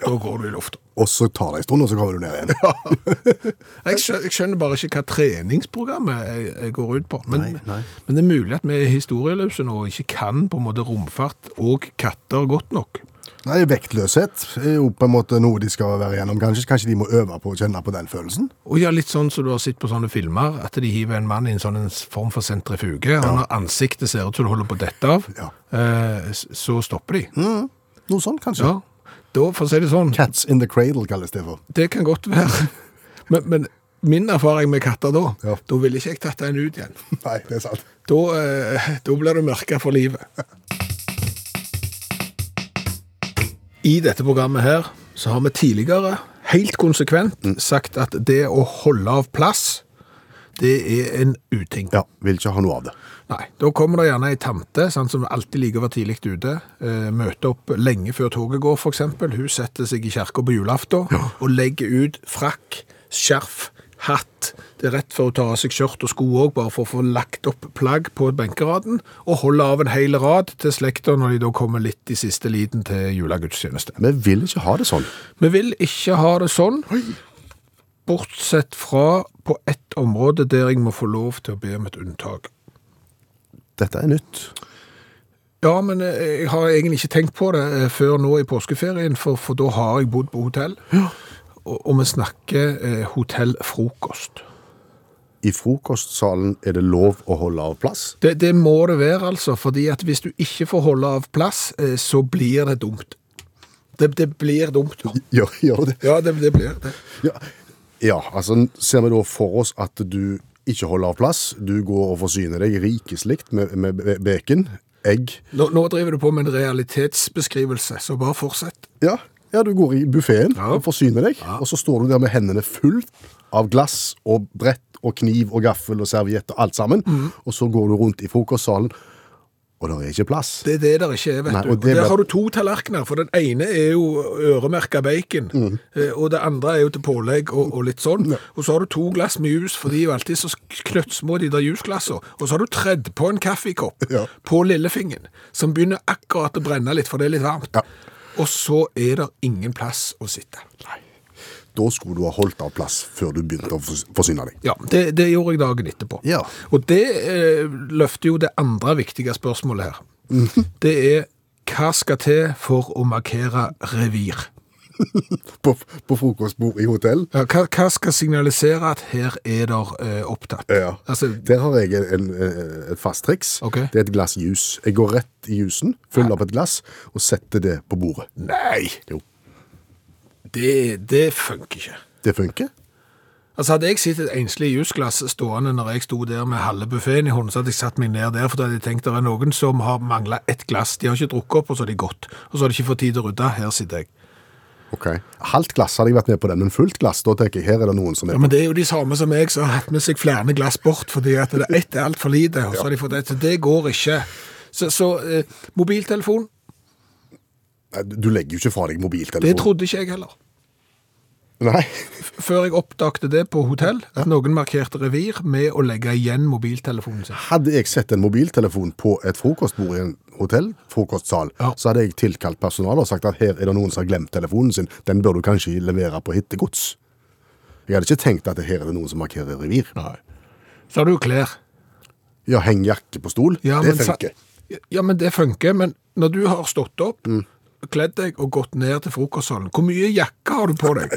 [SPEAKER 2] Da går du i lufta.
[SPEAKER 3] Og så tar det en stund, og så kommer du ned igjen.
[SPEAKER 2] Jeg skjønner, jeg skjønner bare ikke hva treningsprogrammet jeg, jeg går ut på. Men,
[SPEAKER 3] Nei, nei.
[SPEAKER 2] men det er mulig at vi er historieløse nå og ikke kan på en måte romfart og katter godt nok.
[SPEAKER 3] Nei, Vektløshet er jo på en måte noe de skal være gjennom. Kanskje, kanskje de må øve på å kjenne på den følelsen?
[SPEAKER 2] Og ja, litt sånn som du har sett på sånne filmer, at de hiver en mann i en sånn en form for sentrifuge, og når ansiktet ser ut som det holder på å dette av,
[SPEAKER 3] Ja. Mm.
[SPEAKER 2] eh, s- så stopper de.
[SPEAKER 3] Noe sånt, kanskje?
[SPEAKER 2] Ja. Da, for å si det sånn,
[SPEAKER 3] Cats in the cradle kalles det for.
[SPEAKER 2] det kan godt være. Men, men min erfaring med katter da,
[SPEAKER 3] Ja.
[SPEAKER 2] da ville ikke jeg tatt en ut igjen.
[SPEAKER 3] Nei, det er sant.
[SPEAKER 2] Da, eh, da blir du merka for livet. I dette programmet her så har vi tidligere helt konsekvent sagt at det å holde av plass, det er en uting.
[SPEAKER 3] Ja, Vil ikke ha noe av det.
[SPEAKER 2] Nei, da kommer det gjerne ei tante sant, som alltid liker å være tidlig ute. Eh, møter opp lenge før toget går, f.eks. Hun setter seg i kirka på julaften og legger ut frakk, skjerf, hatt. Det er rett før hun tar av seg skjørt og sko òg, bare for å få lagt opp plagg på benkeraden. Og holder av en hel rad til slekta når de da kommer litt i siste liten til julegudstjeneste.
[SPEAKER 3] Vi vil ikke ha det sånn.
[SPEAKER 2] Vi vil ikke ha det sånn, bortsett fra på ett område der jeg må få lov til å be om et unntak.
[SPEAKER 3] Dette er nytt.
[SPEAKER 2] Ja, men eh, jeg har egentlig ikke tenkt på det eh, før nå i påskeferien, for, for da har jeg bodd på hotell. Og, og vi snakker eh, hotellfrokost.
[SPEAKER 3] I frokostsalen er det lov å holde av plass.
[SPEAKER 2] Det, det må det være, altså, fordi at hvis du ikke får holde av plass, eh, så blir det dumt. Det, det blir dumt.
[SPEAKER 3] Gjør, gjør det.
[SPEAKER 2] Ja, det, det blir det.
[SPEAKER 3] Ja. ja, altså ser vi da for oss at du ikke holder av plass. Du går og forsyner deg rikeslikt med, med be- bacon, egg.
[SPEAKER 2] Nå, nå driver du på med en realitetsbeskrivelse, så bare fortsett.
[SPEAKER 3] Ja, ja du går i buffeen
[SPEAKER 2] Ja.
[SPEAKER 3] og forsyner deg, og så står du der med hendene fullt av glass og brett og kniv og gaffel og serviett og alt sammen,
[SPEAKER 2] Mhm.
[SPEAKER 3] og så går du rundt i frokostsalen, og det er ikke plass.
[SPEAKER 2] Det er det der ikke er, vet
[SPEAKER 3] Nei,
[SPEAKER 2] du.
[SPEAKER 3] og
[SPEAKER 2] Og
[SPEAKER 3] det
[SPEAKER 2] Der
[SPEAKER 3] blir-
[SPEAKER 2] har du to tallerkener, for den ene er jo øremerka bacon,
[SPEAKER 3] Mm.
[SPEAKER 2] eh, og det andre er jo til pålegg og, og litt sånn. Og så har du to glass med jus, for de er jo alltid så knøttsmå, de der jusglassene. Og så har du tredd på en kaffekopp
[SPEAKER 3] Ja.
[SPEAKER 2] på lillefingeren, som begynner akkurat å brenne litt, for det er litt varmt.
[SPEAKER 3] Ja.
[SPEAKER 2] Og så er det ingen plass å sitte.
[SPEAKER 3] Da skulle du ha holdt av plass før du begynte å fors- forsyne deg.
[SPEAKER 2] Ja, det, det gjorde jeg dagen etterpå.
[SPEAKER 3] Ja.
[SPEAKER 2] Og det eh, løfter jo det andre viktige spørsmålet her.
[SPEAKER 3] Mhm.
[SPEAKER 2] Det er hva skal til for å markere revir?
[SPEAKER 3] På, på frokostbord i hotell.
[SPEAKER 2] Ja, hva, hva skal signalisere at her er der eh, opptatt?
[SPEAKER 3] Ja.
[SPEAKER 2] Altså,
[SPEAKER 3] Der har jeg en, eh, et fast triks.
[SPEAKER 2] Ok.
[SPEAKER 3] Det er et glass jus. Jeg går rett i jusen, fyller opp et glass og setter det på bordet.
[SPEAKER 2] nei,
[SPEAKER 3] Jo,
[SPEAKER 2] det, det funker ikke.
[SPEAKER 3] det funker.
[SPEAKER 2] Altså Hadde jeg sett et enslig jusglass stående når jeg sto der med halve buffeen i hånden, så hadde jeg satt meg ned der, for da hadde jeg tenkt det er noen som har mangla ett glass. De har ikke drukket opp, og så har de gått. Og så har de ikke fått tid til å rydde. Her sitter jeg.
[SPEAKER 3] Ok. Halvt glass hadde jeg vært med på den, men fullt glass, da tenker jeg her er det noen som
[SPEAKER 2] Ja,
[SPEAKER 3] er
[SPEAKER 2] men Det er jo de samme som meg som har hatt med seg flere glass bort fordi at det ett er altfor lite. og så har de fått et. Så Det går ikke. Så, så eh, mobiltelefon,
[SPEAKER 3] Nei, Du legger jo ikke fra deg
[SPEAKER 2] det
[SPEAKER 3] mobiltelefonen.
[SPEAKER 2] trodde ikke jeg heller.
[SPEAKER 3] Nei.
[SPEAKER 2] Før jeg oppdagte det på hotell, at noen markerte revir med å legge igjen mobiltelefonen sin.
[SPEAKER 3] Hadde jeg sett en mobiltelefon på et frokostbord i en hotell, frokostsal,
[SPEAKER 2] Ja.
[SPEAKER 3] så hadde jeg tilkalt personalet og sagt at her er det noen som har glemt telefonen sin, den bør du kanskje levere på hittegods. Jeg hadde ikke tenkt at her er det noen som markerer revir.
[SPEAKER 2] Så har du jo klær.
[SPEAKER 3] Ja, heng jakke på stol, det
[SPEAKER 2] men sa-
[SPEAKER 3] funker.
[SPEAKER 2] Ja, men det funker. Men når du har stått opp,
[SPEAKER 3] Mm.
[SPEAKER 2] kledd deg og gått ned til frokostsalen, hvor mye jakke har du på deg?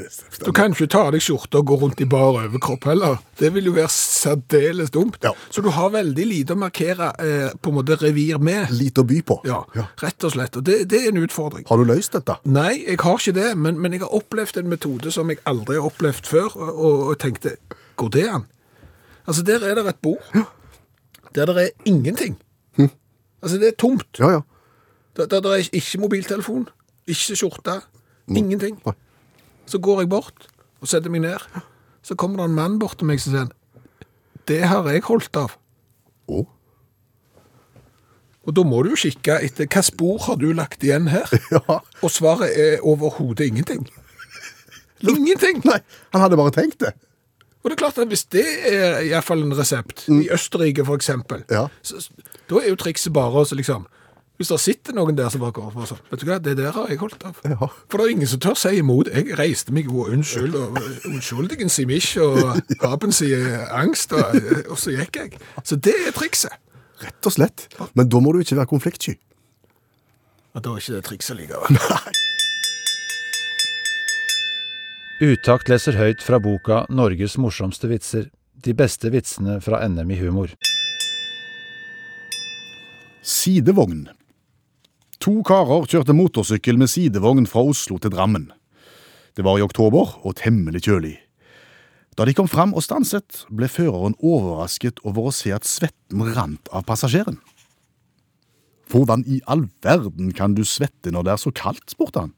[SPEAKER 2] Du kan ikke ta av deg skjorte og gå rundt i bar overkropp heller. Det vil jo være særdeles dumt.
[SPEAKER 3] Ja.
[SPEAKER 2] Så du har veldig lite å markere eh, på en måte revir med.
[SPEAKER 3] Lite å by på.
[SPEAKER 2] Ja, rett og slett. Og det, det er en utfordring.
[SPEAKER 3] Har du løst dette?
[SPEAKER 2] Nei, jeg har ikke det, men, men jeg har opplevd en metode som jeg aldri har opplevd før, og, og, og tenkte, går det an? Altså, der er det et bord, der det er ingenting.
[SPEAKER 3] Hm.
[SPEAKER 2] Altså, det er tomt.
[SPEAKER 3] Ja, ja.
[SPEAKER 2] Der, der, der er ikke mobiltelefon, ikke skjorte, ingenting.
[SPEAKER 3] Nei.
[SPEAKER 2] Så går jeg bort og setter meg ned. Så kommer det en mann bort til meg som sier, det har jeg holdt av.
[SPEAKER 3] Å,
[SPEAKER 2] Og da må du jo kikke etter, hva spor har du lagt igjen her?
[SPEAKER 3] ja.
[SPEAKER 2] Og svaret er overhodet ingenting. Ingenting!
[SPEAKER 3] Nei, han hadde bare tenkt det.
[SPEAKER 2] Og det er klart at hvis det er i hvert fall en resept, i Østerrike for eksempel,
[SPEAKER 3] Mm. Ja.
[SPEAKER 2] så, så- da er jo trikset bare å så liksom Hvis det sitter noen der som bare går og sånn Vet du hva, det der har jeg holdt av.
[SPEAKER 3] Ja.
[SPEAKER 2] For det er ingen som tør si imot. Jeg reiste meg jo unnskyld, og unnskyldigen sier mich, og papen sier angst, og, og så gikk jeg. Så det er trikset.
[SPEAKER 3] Rett og slett. Men da må du ikke være konfliktsky.
[SPEAKER 2] Og da er ikke det trikset likevel.
[SPEAKER 6] Utakt leser høyt fra boka 'Norges morsomste vitser'. De beste vitsene fra NM i humor.
[SPEAKER 3] Sidevogn. To karer kjørte motorsykkel med sidevogn fra Oslo til Drammen. Det var i oktober og temmelig kjølig. Da de kom fram og stanset, ble føreren overrasket over å se at svetten rant av passasjeren. Hvordan i all verden kan du svette når det er så kaldt, spurte han.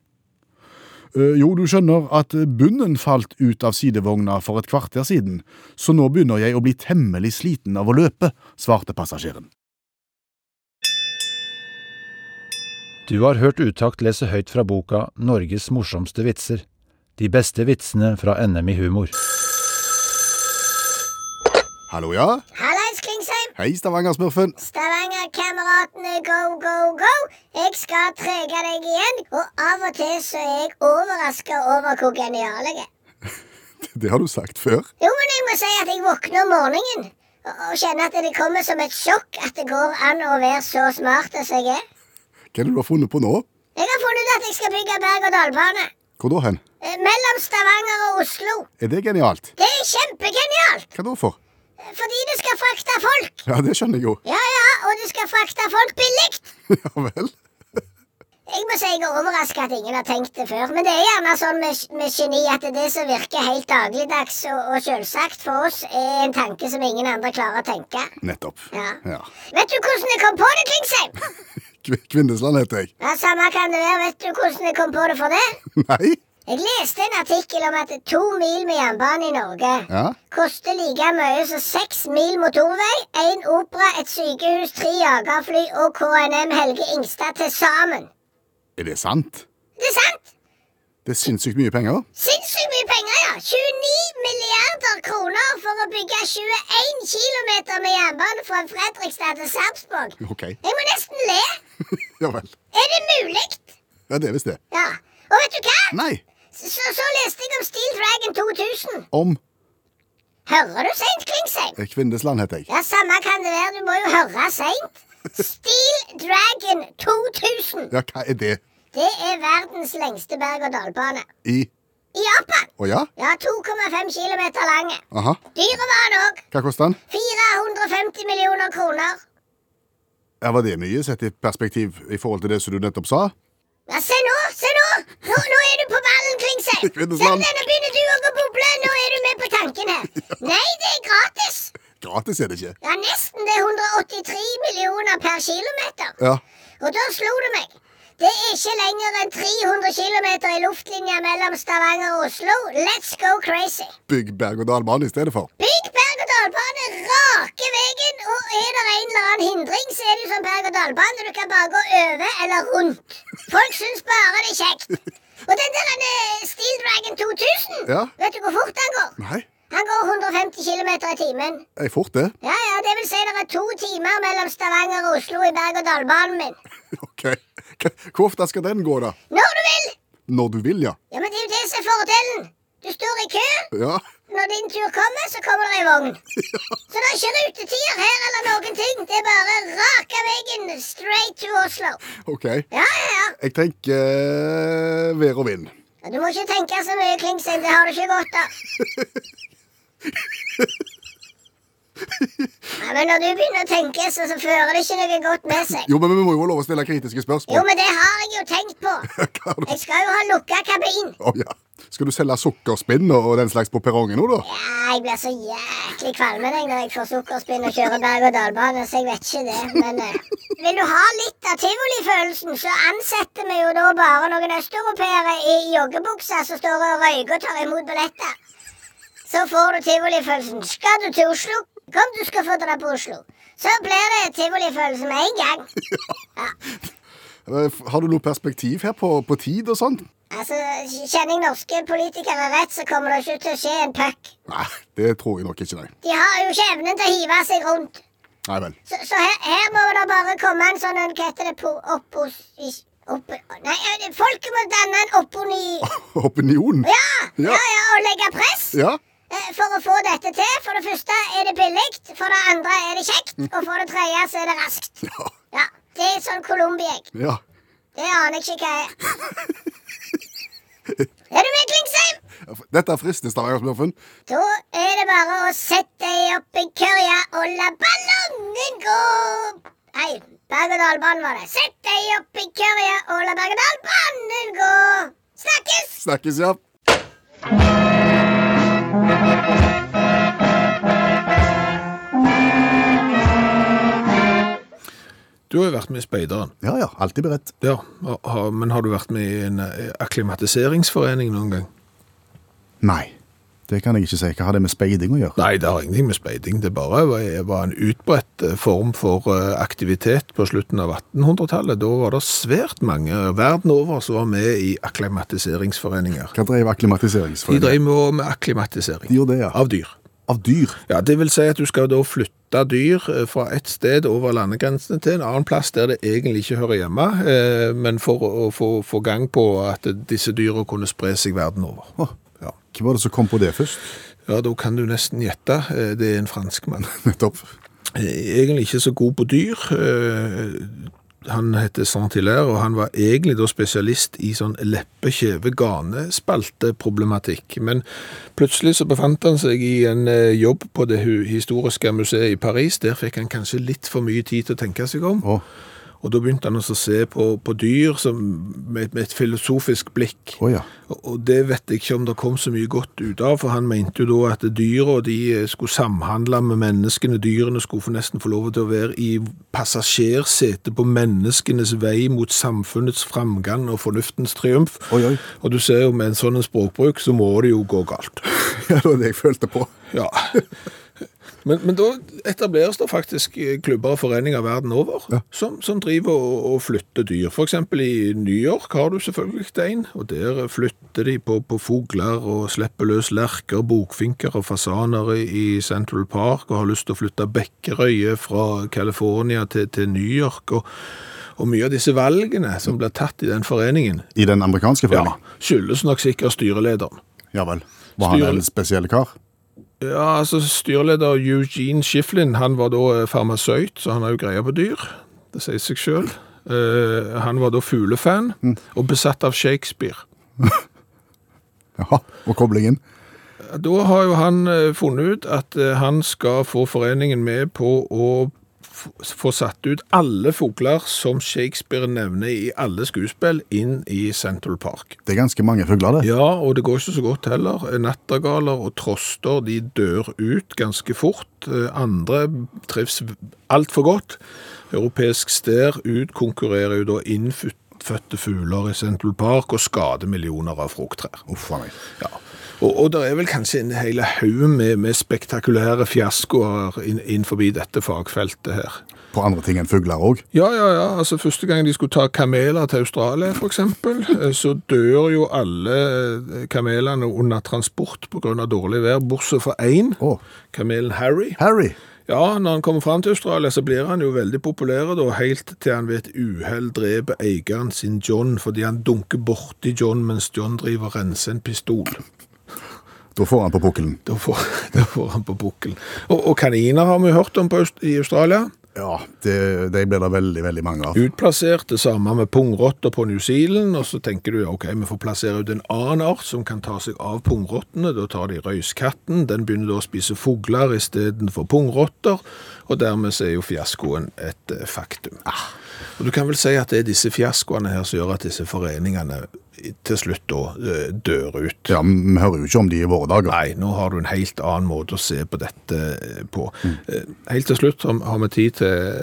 [SPEAKER 3] «Eh, Jo, du skjønner at bunnen falt ut av sidevogna for et kvarter siden, så nå begynner jeg å bli temmelig sliten av å løpe, svarte passasjeren.
[SPEAKER 6] Du har hørt Utakt lese høyt fra boka 'Norges morsomste vitser'. De beste vitsene fra NM i humor.
[SPEAKER 3] Hallo, ja?
[SPEAKER 7] Hallais, Klingsheim!
[SPEAKER 3] Hei, Stavanger-smurfen.
[SPEAKER 7] Stavanger-kameratene, go, go, go! Jeg skal trege deg igjen, og av og til så er jeg overraska over hvor genial jeg er.
[SPEAKER 3] Det har du sagt før.
[SPEAKER 7] Jo, men jeg må si at jeg våkner om morgenen og- og kjenner at det kommer som et sjokk at det går an å være så smart som jeg er.
[SPEAKER 3] Hva er det du har funnet på nå?
[SPEAKER 7] Jeg har funnet ut at jeg skal bygge berg-og-dal-bane
[SPEAKER 3] Hvor da hen?
[SPEAKER 7] eh, mellom Stavanger og Oslo.
[SPEAKER 3] Er det genialt?
[SPEAKER 7] Det er kjempegenialt!
[SPEAKER 3] Hva da for?
[SPEAKER 7] eh, Fordi du skal frakte folk.
[SPEAKER 3] Ja, det skjønner jeg jo.
[SPEAKER 7] Ja, ja, og du skal frakte folk billig.
[SPEAKER 3] Ja vel.
[SPEAKER 7] Jeg må si jeg er overraska at ingen har tenkt det før. Men det er gjerne sånn med, med geni at det som virker helt dagligdags og, og selvsagt for oss, er en tanke som ingen andre klarer å tenke.
[SPEAKER 3] Nettopp.
[SPEAKER 7] Ja. Vet du hvordan jeg kom på det, Klingsheim?
[SPEAKER 3] Kv- Kvinnesland heter jeg.
[SPEAKER 7] Ja, Samme kan det være. Vet du hvordan jeg kom på det for det?
[SPEAKER 3] Nei?
[SPEAKER 7] Jeg leste en artikkel om at to mil med jernbane i Norge
[SPEAKER 3] Ja.
[SPEAKER 7] koster like mye som seks mil motorvei, én opera, et sykehus, tre jagerfly og KNM Helge Ingstad til sammen.
[SPEAKER 3] Er det sant?
[SPEAKER 7] Det er sant!
[SPEAKER 3] Det er sinnssykt mye penger.
[SPEAKER 7] Sinnssykt mye penger, ja! 29 milliarder kroner for å bygge 21 km med jernbane fra Fredrikstad til Sarpsborg.
[SPEAKER 3] Ok.
[SPEAKER 7] Jeg må nesten le!
[SPEAKER 3] Ja vel.
[SPEAKER 7] Er det mulig?
[SPEAKER 3] Ja, det er visst det.
[SPEAKER 7] Ja. Og vet du hva?
[SPEAKER 3] Nei.
[SPEAKER 7] Så, så leste jeg om Steel Dragon 2000.
[SPEAKER 3] Om
[SPEAKER 7] Hører du seint, Klingsheim?
[SPEAKER 3] eh, Kvinnesland heter jeg.
[SPEAKER 7] Ja, samme kan det være. Du må jo høre seint. Steel Dragon 2000.
[SPEAKER 3] Ja, hva er det?
[SPEAKER 7] Det er verdens lengste berg-og-dal-bane.
[SPEAKER 3] I
[SPEAKER 7] I Japan.
[SPEAKER 3] Å ja?
[SPEAKER 7] Ja, 2,5 km lang.
[SPEAKER 3] Aha.
[SPEAKER 7] Dyre var den òg.
[SPEAKER 3] Hva koster den?
[SPEAKER 7] 450 millioner kroner.
[SPEAKER 3] Ja, Var det mye sett i perspektiv i forhold til det som du nettopp sa?
[SPEAKER 7] Ja, se nå, se nå! Nå, nå er du på ballen, Klingsheim. Se
[SPEAKER 3] Kvinnesland.
[SPEAKER 7] det, nå begynner du òg å boble. Nå er du med på tanken her. Nei, det er gratis.
[SPEAKER 3] Gratis er det ikke.
[SPEAKER 7] Ja, nesten. Det er 183 millioner per kilometer.
[SPEAKER 3] Ja.
[SPEAKER 7] Og da slo det meg. Det er ikke lenger enn 300 km i luftlinja mellom Stavanger og Oslo. Let's go crazy.
[SPEAKER 3] Bygg berg-og-dal-bane i stedet for.
[SPEAKER 7] Bygg berg-og-dal-bane rake veien, og er det en eller annen hindring, så er det jo sånn berg-og-dal-bane. Du kan bare gå over eller rundt. Folk syns bare det er kjekt. Og den der han, eh, Steel Dragon 2000,
[SPEAKER 4] Ja.
[SPEAKER 7] vet du hvor fort han går?
[SPEAKER 4] Nei,
[SPEAKER 7] Han går 150 km i timen.
[SPEAKER 4] jeg er fort det.
[SPEAKER 7] Ja, ja, det vil si det er to timer mellom Stavanger og Oslo i berg-og-dal-banen min.
[SPEAKER 4] Ok. Hvor ofte skal den gå, da?
[SPEAKER 7] Når du vil!
[SPEAKER 4] Når du vil, ja.
[SPEAKER 7] Ja, men det er jo det som er fordelen. Du står i kø.
[SPEAKER 4] Ja,
[SPEAKER 7] Når din tur kommer, så kommer det ei vogn. Så det er ikke rutetider her eller noen ting. Det er bare raka veien straight to Oslo.
[SPEAKER 4] ok.
[SPEAKER 7] Ja, ja, ja.
[SPEAKER 4] Jeg tenker eh, vær og vind.
[SPEAKER 7] Ja, Du må ikke tenke så mye, Klingsheim. Det har du ikke godt av. Nei, men når du begynner å tenke, så, så fører det ikke noe godt med seg.
[SPEAKER 4] Jo, men vi må jo ha lov å stille kritiske
[SPEAKER 7] Jo,
[SPEAKER 4] spørsmål.
[SPEAKER 7] men det har jeg jo tenkt på.
[SPEAKER 4] Hva har du-
[SPEAKER 7] Jeg skal jo ha lukka kabin.
[SPEAKER 4] Å, ja. Skal du selge sukkerspinn og og den slags på perrongen nå, da?
[SPEAKER 7] Ja, jeg blir så jæklig kvalm jeg, når jeg får sukkerspinn og kjører berg-og-dal-bane, så jeg vet ikke det. Men eh, vil du ha litt av tivolifølelsen, så ansetter vi jo da bare noen østeuropeere i joggebukser som står og røyker og tar imot billetter. Så får du tivolifølelsen. Skal du til Oslo? Kom, du skal få dra på Oslo. Så blir det tivolifølelse med en gang.
[SPEAKER 4] Eh, Har du noe perspektiv her på, på tid og sånt?
[SPEAKER 7] Altså, Kjenner jeg norske politikere rett, så kommer det ikke til å skje en puck.
[SPEAKER 4] Nei, det tror jeg nok ikke, nei.
[SPEAKER 7] De har jo ikke evnen til å hive seg rundt.
[SPEAKER 4] Nei vel.
[SPEAKER 7] Så, så her, her må det bare komme en sånn en, Hva heter det? Po, oppos... is- Opp, nei, ø, folket må danne en opponi...
[SPEAKER 4] Opinion?
[SPEAKER 7] Ja!
[SPEAKER 4] Ja.
[SPEAKER 7] Ja, ja, og legge press
[SPEAKER 4] Ja?
[SPEAKER 7] eh, for å få dette til. For det første er det billig, for det andre er det kjekt, og for det tredje så er det raskt.
[SPEAKER 4] Ja.
[SPEAKER 7] Ja, Det er sånn Colombia-egg.
[SPEAKER 4] ja.
[SPEAKER 7] Det aner jeg ikke hva er. Er du med, Klingsheim?
[SPEAKER 4] Dette frister Stavanger-smurfen.
[SPEAKER 7] Da er det bare å sette deg opp i kørja og la ballongen gå. Nei, berg-og-dal-banen var det. Sett deg opp i kørja og la berg-og-dal-banen gå. Snakkes!
[SPEAKER 4] Snakkes, ja.
[SPEAKER 2] Du har jo vært med i Speideren.
[SPEAKER 3] Ja ja, alltid beredt.
[SPEAKER 2] Ja, ha- ha- men har du vært med i en eh, akklimatiseringsforening noen gang?
[SPEAKER 3] Nei, det kan jeg ikke si. Hva har det med speiding å gjøre?
[SPEAKER 2] Nei, det har ingenting med speiding. Det bare var- var en utbredt eh, form for eh, aktivitet på slutten av 1800-tallet. Da var det svært mange eh, verden over som var med i akklimatiseringsforeninger.
[SPEAKER 3] Hva drev
[SPEAKER 2] De
[SPEAKER 3] akklimatiseringsforeningen?
[SPEAKER 2] drev med med akklimatisering
[SPEAKER 3] De gjorde det, ja.
[SPEAKER 2] av dyr.
[SPEAKER 3] Av dyr?
[SPEAKER 2] Ja, Det vil si at du skal da flytte dyr eh, fra et sted over landegrensene til en annen plass der det egentlig ikke hører hjemme, eh, men for å få, få gang på at disse dyra kunne spre seg verden over.
[SPEAKER 3] Åh.
[SPEAKER 2] Ja.
[SPEAKER 3] Hva var det som kom på det først?
[SPEAKER 2] ja, da kan du nesten gjette. eh, Det er en franskmann.
[SPEAKER 3] Nettopp.
[SPEAKER 2] Eh, Egentlig ikke så god på dyr. Eh, Han heter Saint-Hilaire, og han var egentlig da spesialist i sånn leppe-kjeve-gane-spalteproblematikk. Men plutselig så befant han seg i en eh, jobb på det hu- historiske museet i Paris. Der fikk han kanskje litt for mye tid til å tenke seg om.
[SPEAKER 3] Å.
[SPEAKER 2] Og da begynte han også å se på, på dyr som, med, med et filosofisk blikk.
[SPEAKER 3] Å ja.
[SPEAKER 2] Og- Og det vet jeg ikke om det kom så mye godt ut av, for han mente jo da at dyra de eh, skulle samhandle med menneskene. Dyrene skulle få nesten få lov til å være i passasjersete på menneskenes vei mot samfunnets framgang og fornuftens triumf.
[SPEAKER 3] Oi, oi.
[SPEAKER 2] Og du ser jo med en sånn språkbruk så må det jo gå galt.
[SPEAKER 4] Ja, det var det jeg følte på.
[SPEAKER 2] Ja. Men, men da etableres det faktisk eh, klubber og foreninger verden over som, som driver og, og flytter dyr. For eksempel i New York har du selvfølgelig en, og der flytter de på, på fogler og slipper løs lerker, bokfinker og fasaner i, i Central Park, og har lyst til å flytte bekkerøye fra California til, til New York. Og, og mye av disse valgene som blir tatt i den foreningen,
[SPEAKER 3] I den amerikanske
[SPEAKER 2] ja,
[SPEAKER 3] foreningen?
[SPEAKER 2] skyldes nok sikkert styrelederen.
[SPEAKER 3] Ja. vel. Var han
[SPEAKER 2] Styrer-
[SPEAKER 3] en spesiell kar?
[SPEAKER 2] Ja, altså Styreleder Eugene Shiflin han var da eh, farmasøyt, så han har jo greie på dyr. Det sier seg sjøl. han var da fuglefan, og besatt av Shakespeare.
[SPEAKER 3] Jaha. Og koblingen?
[SPEAKER 2] Da har jo han eh, funnet ut at eh, han skal få foreningen med på å f- få satt ut alle fugler som Shakespeare nevner i alle skuespill, inn i Central Park.
[SPEAKER 3] Det er ganske mange fugler, det.
[SPEAKER 2] Ja, og det går ikke så godt heller. Nattergaler og troster de dør ut ganske fort. Eh, Andre trives altfor godt. Europeisk stær utkonkurrerer jo da innfødte fugler i Central Park og skader millioner av frukttrær.
[SPEAKER 3] Uff a meg.
[SPEAKER 2] Ja. Og, og det er vel kanskje en hel haug med, med spektakulære fiaskoer inn- innenfor dette fagfeltet her.
[SPEAKER 3] på andre ting enn fugler òg.
[SPEAKER 2] Ja, ja, ja. Altså, første gang de skulle ta kameler til Australia, for eksempel, eh, så dør jo alle eh, kamelene under transport på grunn av dårlig vær, bortsett fra én,
[SPEAKER 3] Å.
[SPEAKER 2] kamelen Harry.
[SPEAKER 3] Harry.
[SPEAKER 2] Ja, når han kommer fram til Australia, så blir han jo veldig populær, da, helt til han ved et uhell dreper eieren sin John, fordi han dunker borti John mens John driver og renser en pistol.
[SPEAKER 3] Da får han på pukkelen.
[SPEAKER 2] Da får, da får han på bukkelen. Og, og kaniner har vi hørt om på, Aust- i Australia.
[SPEAKER 3] Ja, det, de blir det veldig, veldig mange av.
[SPEAKER 2] Utplassert, det samme med pungrotter på New Zealand, og så tenker du ja, ok, vi får plassere ut en annen art som kan ta seg av pungrottene. Da tar de røyskatten, den begynner da å spise fugler istedenfor pungrotter, og dermed så er jo fiaskoen et eh, faktum. Og du kan vel si at det er disse fiaskoene her som gjør at disse foreningene i- til slutt da eh, dør ut.
[SPEAKER 3] Ja, men Vi hører jo ikke om de i våre dager.
[SPEAKER 2] Nei, nå har du en helt annen måte å se på dette eh, på. Eh, Helt til slutt har har vi tid til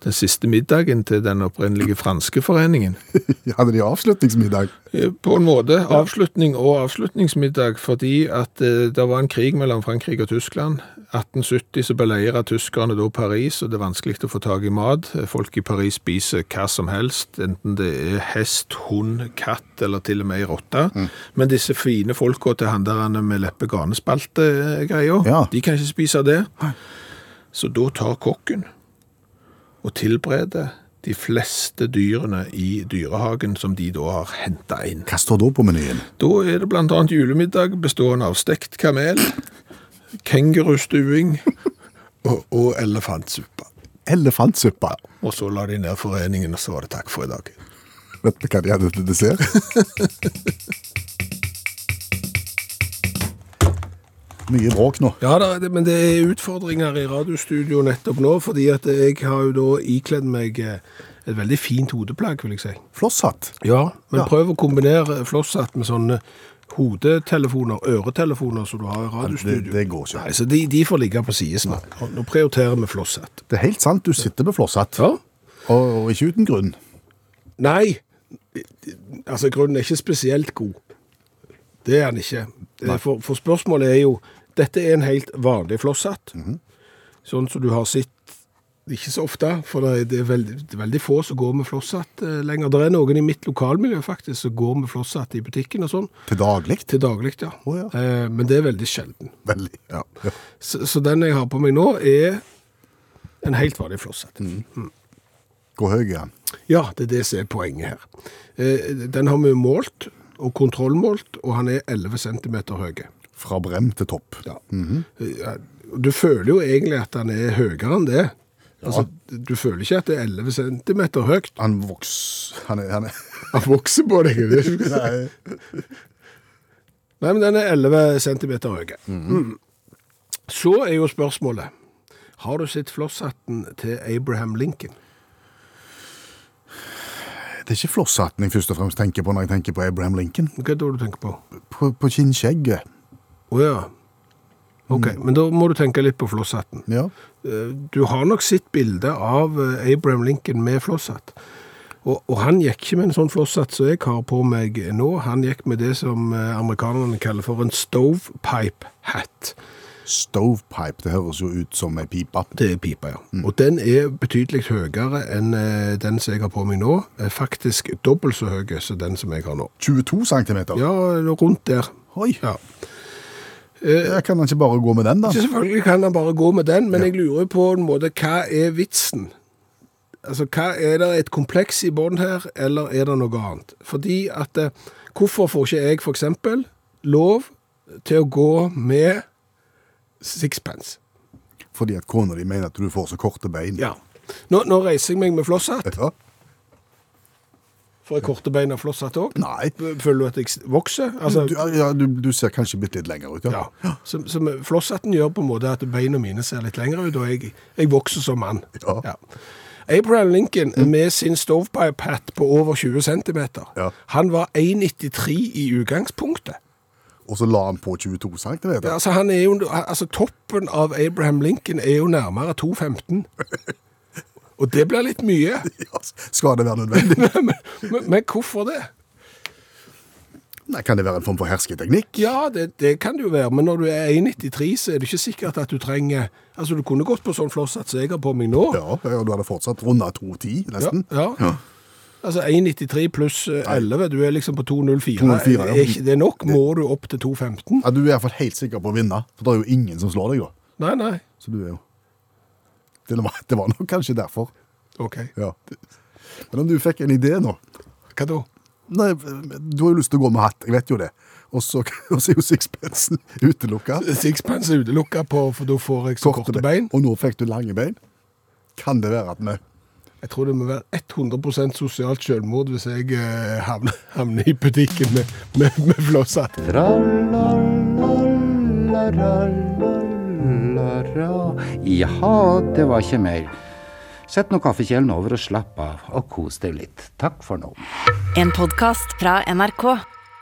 [SPEAKER 2] den siste middagen til den opprinnelige franske foreningen.
[SPEAKER 4] Hadde de avslutningsmiddag?
[SPEAKER 2] Eh, På en måte avslutning og avslutningsmiddag, fordi at eh, det var en krig mellom Frankrike og Tyskland. 1870 så beleiret tyskerne da Paris, og det er vanskelig å få tak i mat. Eh, Folk i Paris spiser hva som helst, enten det er hest, hund, katt eller til og med ei rotte. Men disse fine folka til han der han med leppe-ganespalte-greia,
[SPEAKER 3] Ja.
[SPEAKER 2] de kan ikke spise det. Så da tar kokken og tilbereder de fleste dyrene i dyrehagen som de da har henta inn.
[SPEAKER 3] Hva står da på menyen?
[SPEAKER 2] Da er det blant annet julemiddag bestående av stekt kamel, kengurustuing og, og elefantsuppe.
[SPEAKER 3] Elefantsuppa.
[SPEAKER 2] Og så la de ned foreningen, og så var det takk for i dag.
[SPEAKER 4] Vet du hva de hadde til dessert?
[SPEAKER 3] Mye bråk nå.
[SPEAKER 2] Ja, da, det, men det er utfordringer i radiostudio nettopp nå, fordi at jeg har jo da ikledd meg eh, et veldig fint hodeplagg, vil jeg si.
[SPEAKER 3] Flosshatt.
[SPEAKER 2] Ja, men prøv å kombinere flosshatt med sånne hodetelefoner, øretelefoner som du har i
[SPEAKER 3] Det,
[SPEAKER 2] radiostudio.
[SPEAKER 3] det går ikke.
[SPEAKER 2] Nei, så de, de får ligge på sidesen. Nå prioriterer vi flosshatt.
[SPEAKER 3] Det er helt sant, du sitter med flosshatt.
[SPEAKER 2] Ja?
[SPEAKER 3] Og, og ikke uten grunn.
[SPEAKER 2] Nei, altså grunnen er ikke spesielt god. Det er den ikke. Eh, For, for spørsmålet er jo, dette er en helt vanlig flosshatt.
[SPEAKER 3] Mhm.
[SPEAKER 2] Sånn som du har sett ikke så ofte, for det er, det er veldig, det er veldig få som går med flosshatt eh, lenger. Det er noen i mitt lokalmiljø faktisk som går med flosshatt i butikken og sånn.
[SPEAKER 3] Til daglig.
[SPEAKER 2] Til daglig, ja.
[SPEAKER 3] Å, ja.
[SPEAKER 2] Eh, men det er veldig sjelden.
[SPEAKER 3] Veldig. Ja.
[SPEAKER 2] Så, så den jeg har på meg nå, er en helt vanlig flosshatt.
[SPEAKER 3] Hvor høy er han?
[SPEAKER 2] Ja, det er det som er poenget her. Eh, den har vi målt og kontrollmålt, og han er 11 cm høy.
[SPEAKER 3] Fra brem til topp. Mm.
[SPEAKER 2] Ja. Eh, Du føler jo egentlig at han er høyere enn det. Altså, du føler ikke at det er 11 cm høyt.
[SPEAKER 3] Han vokser Han er, han er.
[SPEAKER 2] Han vokser på deg. det er ikke-
[SPEAKER 3] Nei.
[SPEAKER 2] Nei, men den er 11 cm høy. Mm. Så er jo spørsmålet Har du sett flosshatten til Abraham Lincoln?
[SPEAKER 3] Det er ikke flosshatten jeg først og fremst tenker på når jeg tenker på Abraham Lincoln.
[SPEAKER 2] Hva er det du tenker på?
[SPEAKER 3] På, på kinnskjegget.
[SPEAKER 2] Å ja. OK, men da må du tenke litt på flosshatten.
[SPEAKER 3] Ja.
[SPEAKER 2] Eh, Du har nok sett bildet av eh, Abraham Lincoln med flosshatt. Og, og han gikk ikke med en sånn flosshatt som jeg har på meg nå. Han gikk med det som eh, amerikanerne kaller for en stovepipe hat.
[SPEAKER 3] Stovepipe. Det høres jo ut som ei pipe.
[SPEAKER 2] Det er pipa, ja. Og den er betydelig høyere enn eh, den som jeg har på meg nå. Er faktisk dobbelt så høy som den som jeg har nå.
[SPEAKER 3] 22 cm.
[SPEAKER 2] Ja, rundt der.
[SPEAKER 3] Oi.
[SPEAKER 2] Ja.
[SPEAKER 3] Jeg kan han ikke bare gå med den, da?
[SPEAKER 2] Så selvfølgelig kan han bare gå med den, men jeg lurer på en måte, hva er vitsen? Altså, hva Er det et kompleks i bånd her, eller er det noe annet? Fordi at eh, Hvorfor får ikke jeg f.eks. lov til å gå med sixpence?
[SPEAKER 3] Fordi at kona di mener at du får så korte bein.
[SPEAKER 2] Ja. Nå, nå reiser jeg meg med flosshatt.
[SPEAKER 3] Ja.
[SPEAKER 2] Får jeg korte bein av flosshatt òg?
[SPEAKER 3] Nei.
[SPEAKER 2] Føler du at jeg vokser? Altså,
[SPEAKER 3] Du, ja, du, du ser kanskje bitte litt lenger ut,
[SPEAKER 2] ja. Som, som flosshatten gjør på en måte at beina mine ser litt lengre ut, og jeg, jeg vokser som mann.
[SPEAKER 3] Ja.
[SPEAKER 2] Abraham Lincoln med sin stovepipe-hatt på over 20 cm,
[SPEAKER 3] Ja.
[SPEAKER 2] han var 1,93 i utgangspunktet.
[SPEAKER 3] Og så la han på 22 cm.
[SPEAKER 2] Ja, altså, han er jo, altså, toppen av Abraham Lincoln er jo nærmere 2,15. Og det blir litt mye.
[SPEAKER 3] Ja, Skal det være nødvendig?
[SPEAKER 2] men, men, men hvorfor det?
[SPEAKER 3] Nei, Kan det være en form for hersketeknikk?
[SPEAKER 2] Ja, det, det kan det jo være, men når du er 1,93, så er det ikke sikkert at du trenger Altså, du kunne gått på sånn flosshatt som jeg har på meg nå.
[SPEAKER 3] Ja, ja, du hadde fortsatt runda 2,10, nesten.
[SPEAKER 2] Ja, ja. Altså 1,93 pluss eh, 11, du er liksom på 2,04.
[SPEAKER 3] 2,04, ja.
[SPEAKER 2] Er ikke det nok? Må du opp til 2,15?
[SPEAKER 3] Ja, Du er iallfall helt sikker på å vinne, for det er jo ingen som slår deg, da.
[SPEAKER 2] Nei, nei.
[SPEAKER 3] Så du er jo Det var, det var nok kanskje derfor.
[SPEAKER 2] OK.
[SPEAKER 3] Ja. Men om du fikk en idé nå
[SPEAKER 2] Hva da?
[SPEAKER 3] Nei, Du har jo lyst til å gå med hatt, jeg vet jo det. Og så og så er jo sixpensen utelukka.
[SPEAKER 2] Sixpence er utelukka på, for da får jeg så korte, bein.
[SPEAKER 3] Og nå fikk du lange bein. Kan det være at vi
[SPEAKER 2] Jeg tror det må være 100 sosialt selvmord hvis jeg eh, havner, havner i butikken med, med, med flosshatt.
[SPEAKER 8] Tra-la-la-la-la-la-la. Jaha, det var ikke mer. Sett nå kaffekjelen over og slapp av, og kos deg litt. Takk for nå.
[SPEAKER 1] En podkast fra NRK.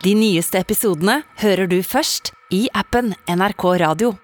[SPEAKER 1] De nyeste episodene hører du først i appen NRK Radio.